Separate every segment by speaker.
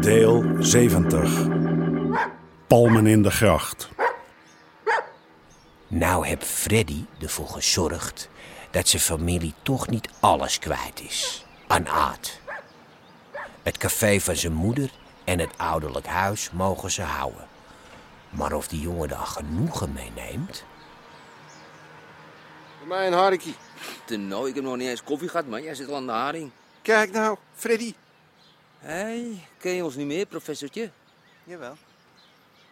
Speaker 1: Deel 70. Palmen in de gracht.
Speaker 2: Nou heb Freddy ervoor gezorgd dat zijn familie toch niet alles kwijt is aan Aad. Het café van zijn moeder en het ouderlijk huis mogen ze houden. Maar of die jongen daar genoegen mee neemt?
Speaker 3: Voor mij een harkie.
Speaker 4: Nou, ik heb nog niet eens koffie gehad, man. Jij zit al aan de haring.
Speaker 3: Kijk nou, Freddy.
Speaker 4: Hé, hey, ken je ons niet meer, professortje?
Speaker 3: Jawel.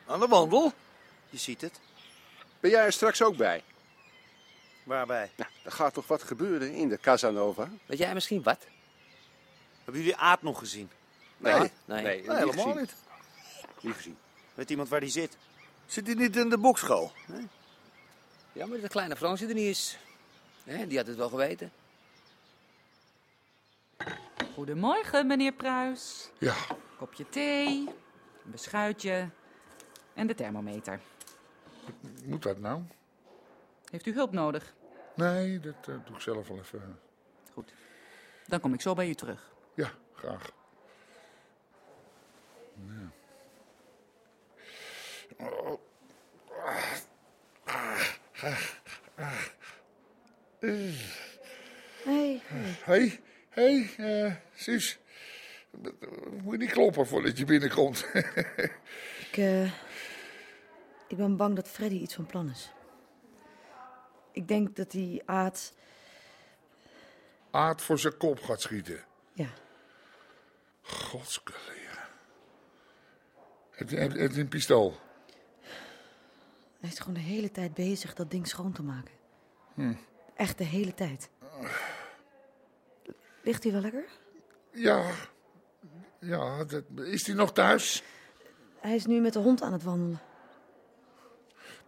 Speaker 5: Aan de wandel?
Speaker 3: Je ziet het.
Speaker 6: Ben jij er straks ook bij?
Speaker 3: Waarbij?
Speaker 6: Nou, er gaat toch wat gebeuren in de Casanova?
Speaker 4: Weet jij misschien wat?
Speaker 5: Hebben jullie Aad nog gezien?
Speaker 6: Nee,
Speaker 4: nee.
Speaker 5: Nee, helemaal niet.
Speaker 6: Niet gezien.
Speaker 5: Weet iemand waar die zit? Zit hij niet in de bokschool?
Speaker 4: Ja, maar de kleine Fransje er niet is. Hè, die had het wel geweten.
Speaker 7: Goedemorgen, meneer Pruis.
Speaker 6: Ja.
Speaker 7: Kopje thee, een beschuitje en de thermometer.
Speaker 8: Moet dat nou?
Speaker 7: Heeft u hulp nodig?
Speaker 8: Nee, dat eh, doe ik zelf wel even.
Speaker 7: Goed. Dan kom ik zo bij u terug.
Speaker 8: Ja, graag. Ja. Oh. Ah. Ah. Ah. Ah. Eh. Hey, hey, eh, Suus. Moet je niet kloppen voordat je binnenkomt.
Speaker 9: Ik, eh, ik ben bang dat Freddy iets van plan is. Ik denk dat hij Aad...
Speaker 8: Aad voor zijn kop gaat schieten.
Speaker 9: Ja,
Speaker 8: Godskulle, ja. Heb je- heb- heb je een pistool?
Speaker 9: hij is gewoon de hele tijd bezig dat ding schoon te maken. Echt de hele tijd. Ligt hij wel lekker?
Speaker 8: Ja. Ja, dat, is die nog thuis?
Speaker 9: Hij is nu met de hond aan het wandelen.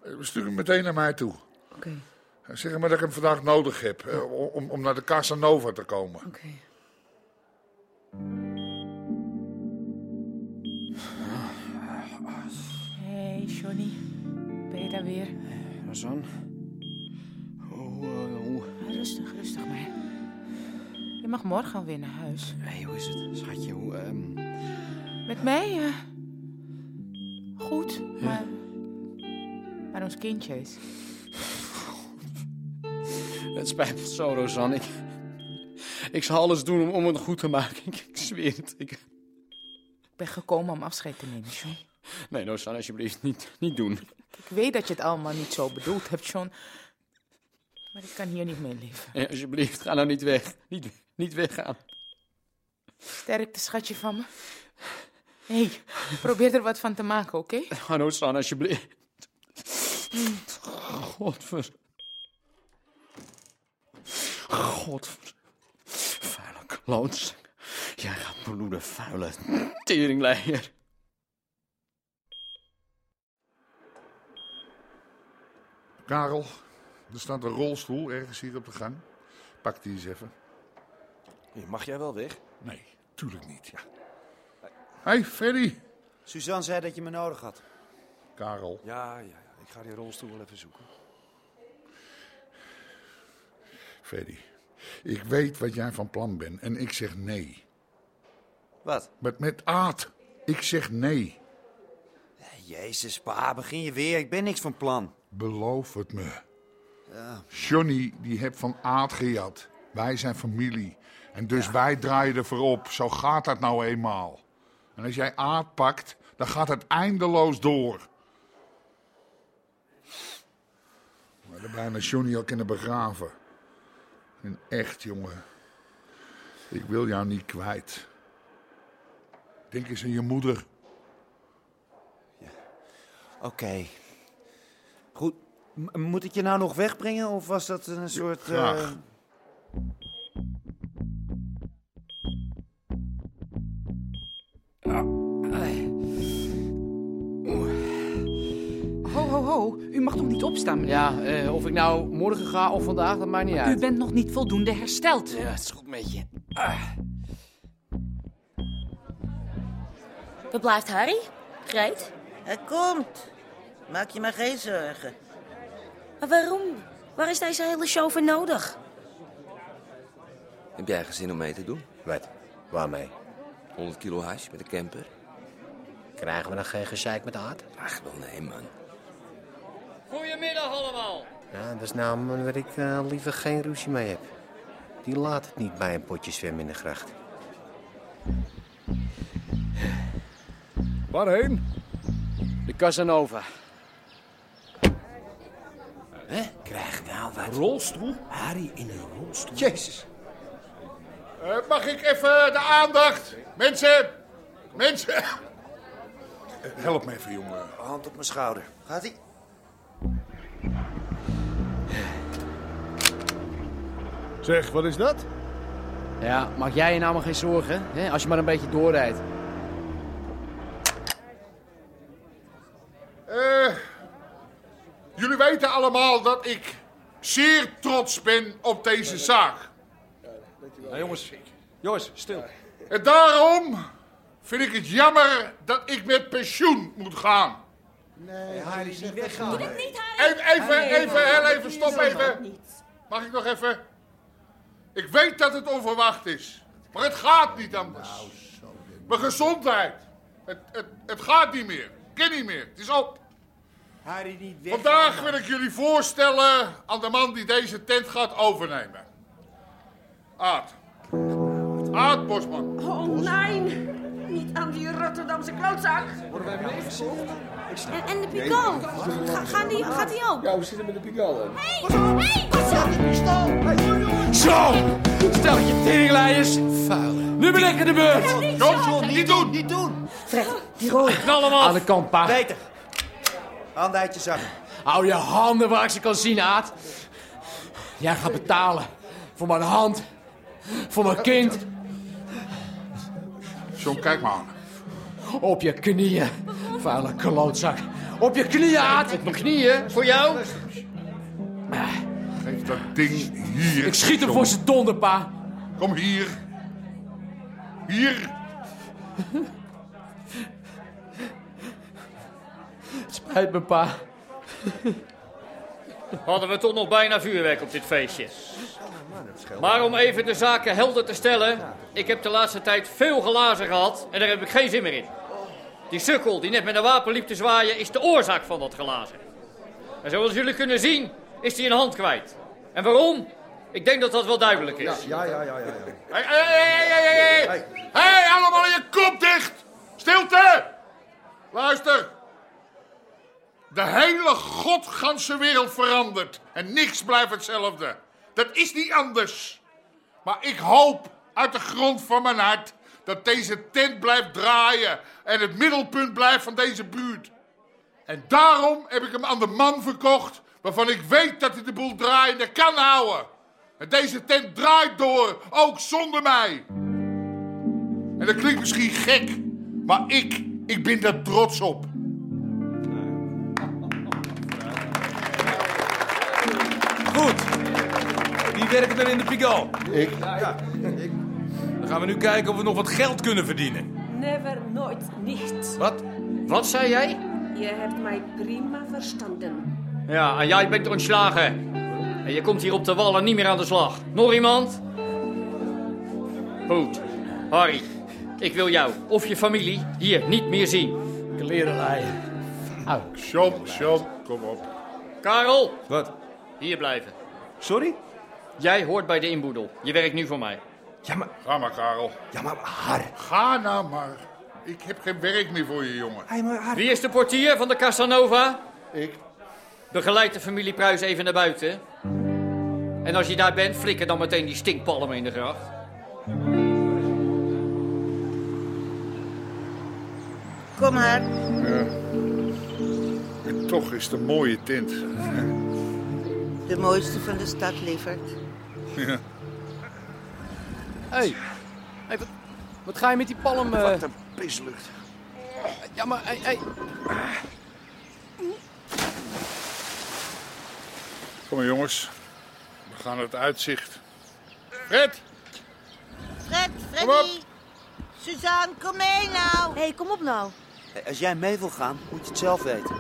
Speaker 8: Eh, Stuur hem meteen naar mij toe.
Speaker 9: Oké,
Speaker 8: Eh, Zeg hem maar dat ik hem vandaag nodig heb eh, om, om naar de Casanova te komen.
Speaker 9: oké.
Speaker 10: Hey Johnny, ben je daar weer?
Speaker 5: Razan. Oh, eh, oh.
Speaker 10: Ah, Rustig, rustig maar. Je mag morgen alweer naar huis.
Speaker 5: Hey, hoe is het, schatje? Hoe, ehm,
Speaker 10: Met mij? eh, goed, maar... Maar ons kindje is...
Speaker 5: Het spijt me zo, Rozan. Ik, ik zal alles doen om, om het goed te maken. Ik, ik zweer het. Ik,
Speaker 10: Ik ben gekomen om afscheid te nemen, John.
Speaker 5: nee, Rozan, alsjeblieft, niet, niet doen.
Speaker 10: Ik weet dat je het allemaal niet zo bedoeld hebt, John. Maar ik kan hier niet meer leven.
Speaker 5: Eh, alsjeblieft, ga nou niet weg. Niet, niet weggaan.
Speaker 10: Sterkte, schatje van me. Hé, hey, probeer er wat van te maken, oké?
Speaker 5: Ga, Rozan, alsjeblieft. Godver... Godver... Vuile kloots. Jij gaat bloeden, vuile teringleier.
Speaker 8: Karel, er staat een rolstoel ergens hier op de gang. Pak die eens even.
Speaker 5: Mag jij wel weg?
Speaker 8: Nee, tuurlijk niet. Ja. Hey, Freddy.
Speaker 5: Suzanne zei dat je me nodig had.
Speaker 8: Karel,
Speaker 5: Ja, ja, ja. Ik ga die rolstoel wel even zoeken.
Speaker 8: Freddy. Ik weet wat jij van plan bent en ik zeg nee.
Speaker 5: Wat?
Speaker 8: Met, met Aad. Ik zeg nee.
Speaker 5: Jezus, pa, begin je weer. Ik ben niks van plan.
Speaker 8: Beloof het me. Johnny, die heb van Aad gejat. Wij zijn familie. En dus wij draaien er voorop. Zo gaat dat nou eenmaal. En als jij Aad pakt, dan gaat het eindeloos door. We hadden bijna Johnny al kunnen begraven. En echt, jongen. Ik wil jou niet kwijt. Denk eens aan je moeder.
Speaker 11: Oké. Goed. M- moet ik je nou nog wegbrengen of was dat een soort... eh,
Speaker 8: graag.
Speaker 10: Ho, ho, ho. U mag toch niet opstaan, meneer?
Speaker 12: Ja, eh, of ik nou morgen ga of vandaag, dat maakt niet
Speaker 10: U
Speaker 12: uit.
Speaker 10: bent nog niet voldoende hersteld.
Speaker 12: Ja, het is goed met je.
Speaker 9: Waar blijft Harry? Greet?
Speaker 13: Hij komt. Maak je maar geen zorgen.
Speaker 9: Maar waarom? Waar is deze hele show voor nodig?
Speaker 4: Heb jij gezin om mee te doen?
Speaker 2: Wat? Waarmee?
Speaker 4: 100 kilo hash met een camper?
Speaker 2: Krijgen we dan geen gezeik met Aad?
Speaker 4: Ach, wel nee, man.
Speaker 12: Goedemiddag allemaal.
Speaker 2: Ja, dat is nou een man waar ik eh, liever geen ruzie mee heb. Die laat het niet bij een potje zwemmen in de gracht.
Speaker 12: Waarheen? De Casanova.
Speaker 2: Hè? Krijg nou wat.
Speaker 12: Rolstoel?
Speaker 2: Harry in een rolstoel.
Speaker 12: Jezus.
Speaker 8: Eh, mag ik even de aandacht? Mensen! Mensen! Help me even, jongen.
Speaker 11: Hand op mijn schouder. Gaat ie?
Speaker 12: Zeg, wat is dat? Ja, maak jij je nou maar geen zorgen, hè? als je maar een beetje doorrijdt.
Speaker 8: Eh, jullie weten allemaal dat ik zeer trots ben op deze zaak.
Speaker 12: Nou, jongens, jongens, stil.
Speaker 8: En daarom vind ik het jammer dat ik met pensioen moet gaan.
Speaker 14: Nee, Harry, niet weggaan. Doe dat niet,
Speaker 8: Even, even,
Speaker 14: Harry,
Speaker 8: even, heel
Speaker 14: Harry,
Speaker 8: even,
Speaker 14: doe
Speaker 8: stop
Speaker 14: je zo maar
Speaker 8: even. Mag ik nog even? Ik weet dat het onverwacht is, maar het gaat niet anders.
Speaker 14: Nou,
Speaker 8: Mijn gezondheid, het, het, het gaat niet meer. Ik kan niet meer, het is op.
Speaker 14: Harry, niet weg.
Speaker 8: Vandaag wil ik jullie voorstellen aan de man die deze tent gaat overnemen. Aad. Aad Bosman.
Speaker 15: Oh nee, niet aan die Rotterdamse klootzak. Worden wij meegezocht?
Speaker 9: En, en de Pico? Ga, gaan die, gaat die ook?
Speaker 14: Ja, we zitten met de Pigal.
Speaker 12: Zo! Stel je teringleiers. Vuil. Nu ben ik in de beurt.
Speaker 11: Johnson, niet doen! Niet doen!
Speaker 12: Fred, die rol. Knal hem af. Aan de kant, pa.
Speaker 11: Beter. Handen uit je zakken.
Speaker 12: Hou je handen waar ik ze kan zien, Aad. Jij gaat betalen. Voor mijn hand. Voor mijn kind.
Speaker 8: John, kijk maar aan.
Speaker 12: Op je knieën. Vuile klootzak. Op je knieën, Aad. Op mijn knieën. Voor jou. Ah.
Speaker 8: Geef dat ding hier.
Speaker 12: Ik schiet hem voor zijn donder, pa.
Speaker 8: Kom hier. Hier.
Speaker 12: Het spijt me, pa.
Speaker 5: Hadden we toch nog bijna vuurwerk op dit feestje. Maar om even de zaken helder te stellen. Ik heb de laatste tijd veel glazen gehad en daar heb ik geen zin meer in. Die sukkel die net met een wapen liep te zwaaien is de oorzaak van dat glazen. En zoals jullie kunnen zien is hij een hand kwijt. En waarom? Ik denk dat dat wel duidelijk is.
Speaker 14: Ja, ja, ja, ja.
Speaker 8: Hé, hé, hé, hé, hé, hé. Hé, allemaal je kop dicht. Stilte. Luister. De hele godganse wereld verandert. En niks blijft hetzelfde. Dat is niet anders. Maar ik hoop uit de grond van mijn hart dat deze tent blijft draaien en het middelpunt blijft van deze buurt. En daarom heb ik hem aan de man verkocht waarvan ik weet dat hij de boel draaiende kan houden. En deze tent draait door, ook zonder mij. En dat klinkt misschien gek, maar ik, ik ben daar trots op.
Speaker 16: Goed. Wie werkt er in de Pigal?
Speaker 14: Ik.
Speaker 16: Ja, ik. Dan gaan we nu kijken of we nog wat geld kunnen verdienen.
Speaker 15: Never, nooit, niet.
Speaker 16: Wat?
Speaker 5: Wat zei jij?
Speaker 15: Je hebt mij prima verstanden.
Speaker 5: Ja, en jij bent ontslagen. En je komt hier op de wallen niet meer aan de slag. Nog iemand? Goed. Harry, ik wil jou of je familie hier niet meer zien. Klerenlei.
Speaker 8: John, John, kom op.
Speaker 5: Karel!
Speaker 16: Wat?
Speaker 5: Hier blijven.
Speaker 16: Sorry?
Speaker 5: Jij hoort bij de inboedel. Je werkt nu voor mij.
Speaker 16: Ja, maar...
Speaker 8: Ga maar, Karel.
Speaker 16: Ja, maar Har...
Speaker 8: Ga nou maar. Ik heb geen werk meer voor je, jongen.
Speaker 5: Wie is de portier van de Casanova?
Speaker 8: Ik.
Speaker 5: Begeleid de familie Pruis even naar buiten. En als je daar bent, flikker dan meteen die stinkpalmen in de gracht.
Speaker 13: Kom maar.
Speaker 8: Toch is het een mooie tent.
Speaker 17: De mooiste van de stad, lieverd.
Speaker 8: Ja.
Speaker 5: Hé, hey. wat, wat ga je met die palm... eh?
Speaker 8: Wat een pislucht.
Speaker 5: Ja, maar... Hey, hey.
Speaker 8: Kom maar jongens, we gaan het uitzicht. Fred!
Speaker 18: Fred, Freddy. Suzanne, kom mee nou. Hé, hey, kom op nou.
Speaker 19: Als jij mee wil gaan, moet je het zelf weten.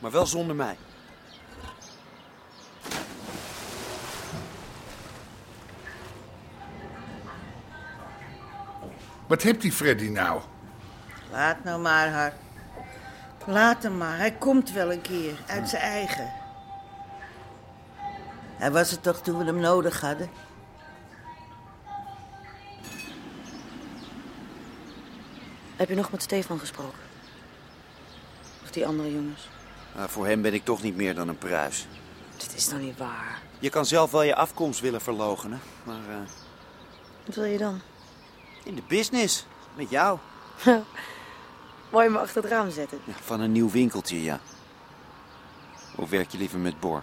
Speaker 19: Maar wel zonder mij.
Speaker 8: Wat heeft die Freddy nou?
Speaker 17: Laat nou maar haar. Laat hem maar. Hij komt wel een keer. Uit zijn eigen. Hij was het toch toen we hem nodig hadden?
Speaker 9: Heb je nog met Stefan gesproken? Of die andere jongens?
Speaker 19: Maar Nou, voor hem ben ik toch niet meer dan een pruis.
Speaker 9: Dit is dan niet waar.
Speaker 19: Je kan zelf wel je afkomst willen verlogenen, maar eh,
Speaker 9: Wat wil je dan?
Speaker 19: in de business, met jou.
Speaker 9: Wou je me achter het raam zetten?
Speaker 19: Ja, Van een nieuw winkeltje, ja. Of werk je liever met Bor?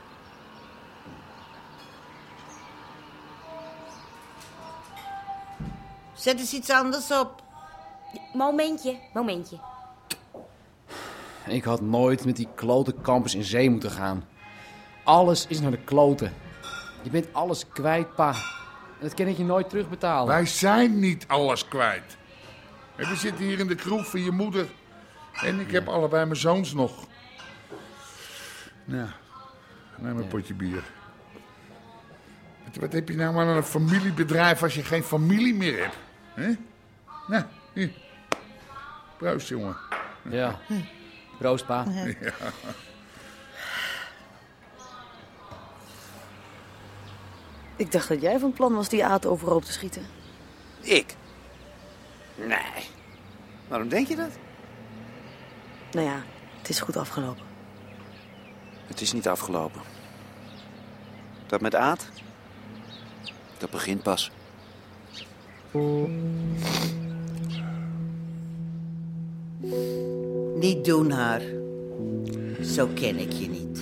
Speaker 18: Zet eens iets anders op. Momentje, momentje.
Speaker 5: Ik had nooit met die klote campus in zee moeten gaan. Alles is naar de kloten. Je bent alles kwijt, pa. En dat kan ik je nooit terugbetalen.
Speaker 8: Wij zijn niet alles kwijt. En we zitten hier in de kroeg van je moeder. En ik heb allebei mijn zoons nog. Nou, neem een potje bier. Wat, wat heb je nou aan een familiebedrijf als je geen familie meer hebt? hè? Nou, hier. Proost, jongen.
Speaker 5: Ja. Proost, pa.
Speaker 8: Ja.
Speaker 9: Ik dacht dat jij van plan was die aat overhoop te schieten.
Speaker 19: Ik? Nee. Waarom denk je dat?
Speaker 9: Nou ja, het is goed afgelopen.
Speaker 19: Het is niet afgelopen. Dat met Aad? Dat begint pas.
Speaker 17: Niet doen haar. Zo ken ik je niet.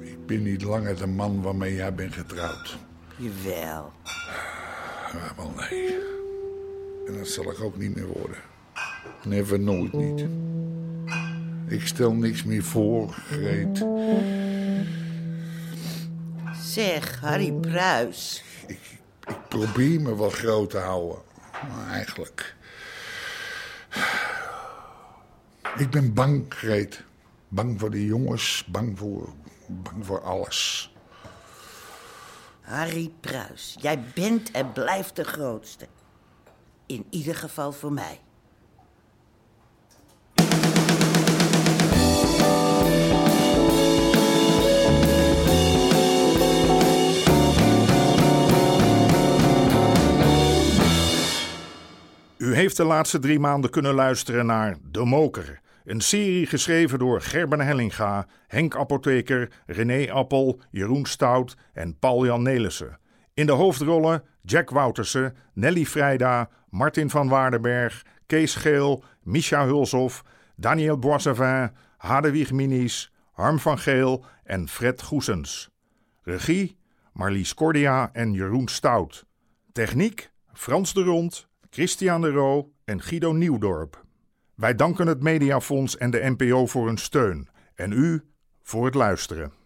Speaker 8: Ik ben niet langer de man waarmee jij bent getrouwd.
Speaker 17: Jawel.
Speaker 8: Ah, wel nee. En dat zal ik ook niet meer worden. Never, nooit niet. Ik stel niks meer voor, Greet.
Speaker 17: Zeg, Harry Pruis.
Speaker 8: Ik probeer me wel groot te houden. Maar eigenlijk... Ik ben bang, Greet. Bang voor de jongens, bang voor, bang voor alles.
Speaker 17: Harry Pruis, jij bent en blijft de grootste. In ieder geval voor mij.
Speaker 1: U heeft de laatste drie maanden kunnen luisteren naar De Moker. Een serie geschreven door Gerben Hellinga, Henk Apotheker, René Appel, Jeroen Stout en Paul-Jan Nelissen. In de hoofdrollen Jack Woutersen, Nelly Vrijda, Martin van Waardenberg, Kees Geel, Micha Hulshoff, Daniel Boissavin, Hadewig Minis, Harm van Geel en Fred Goesens. Regie Marlies Cordia en Jeroen Stout. Techniek Frans de Rond, Christian de Roo en Guido Nieuwdorp. Wij danken het Mediafonds en de NPO voor hun steun en u voor het luisteren.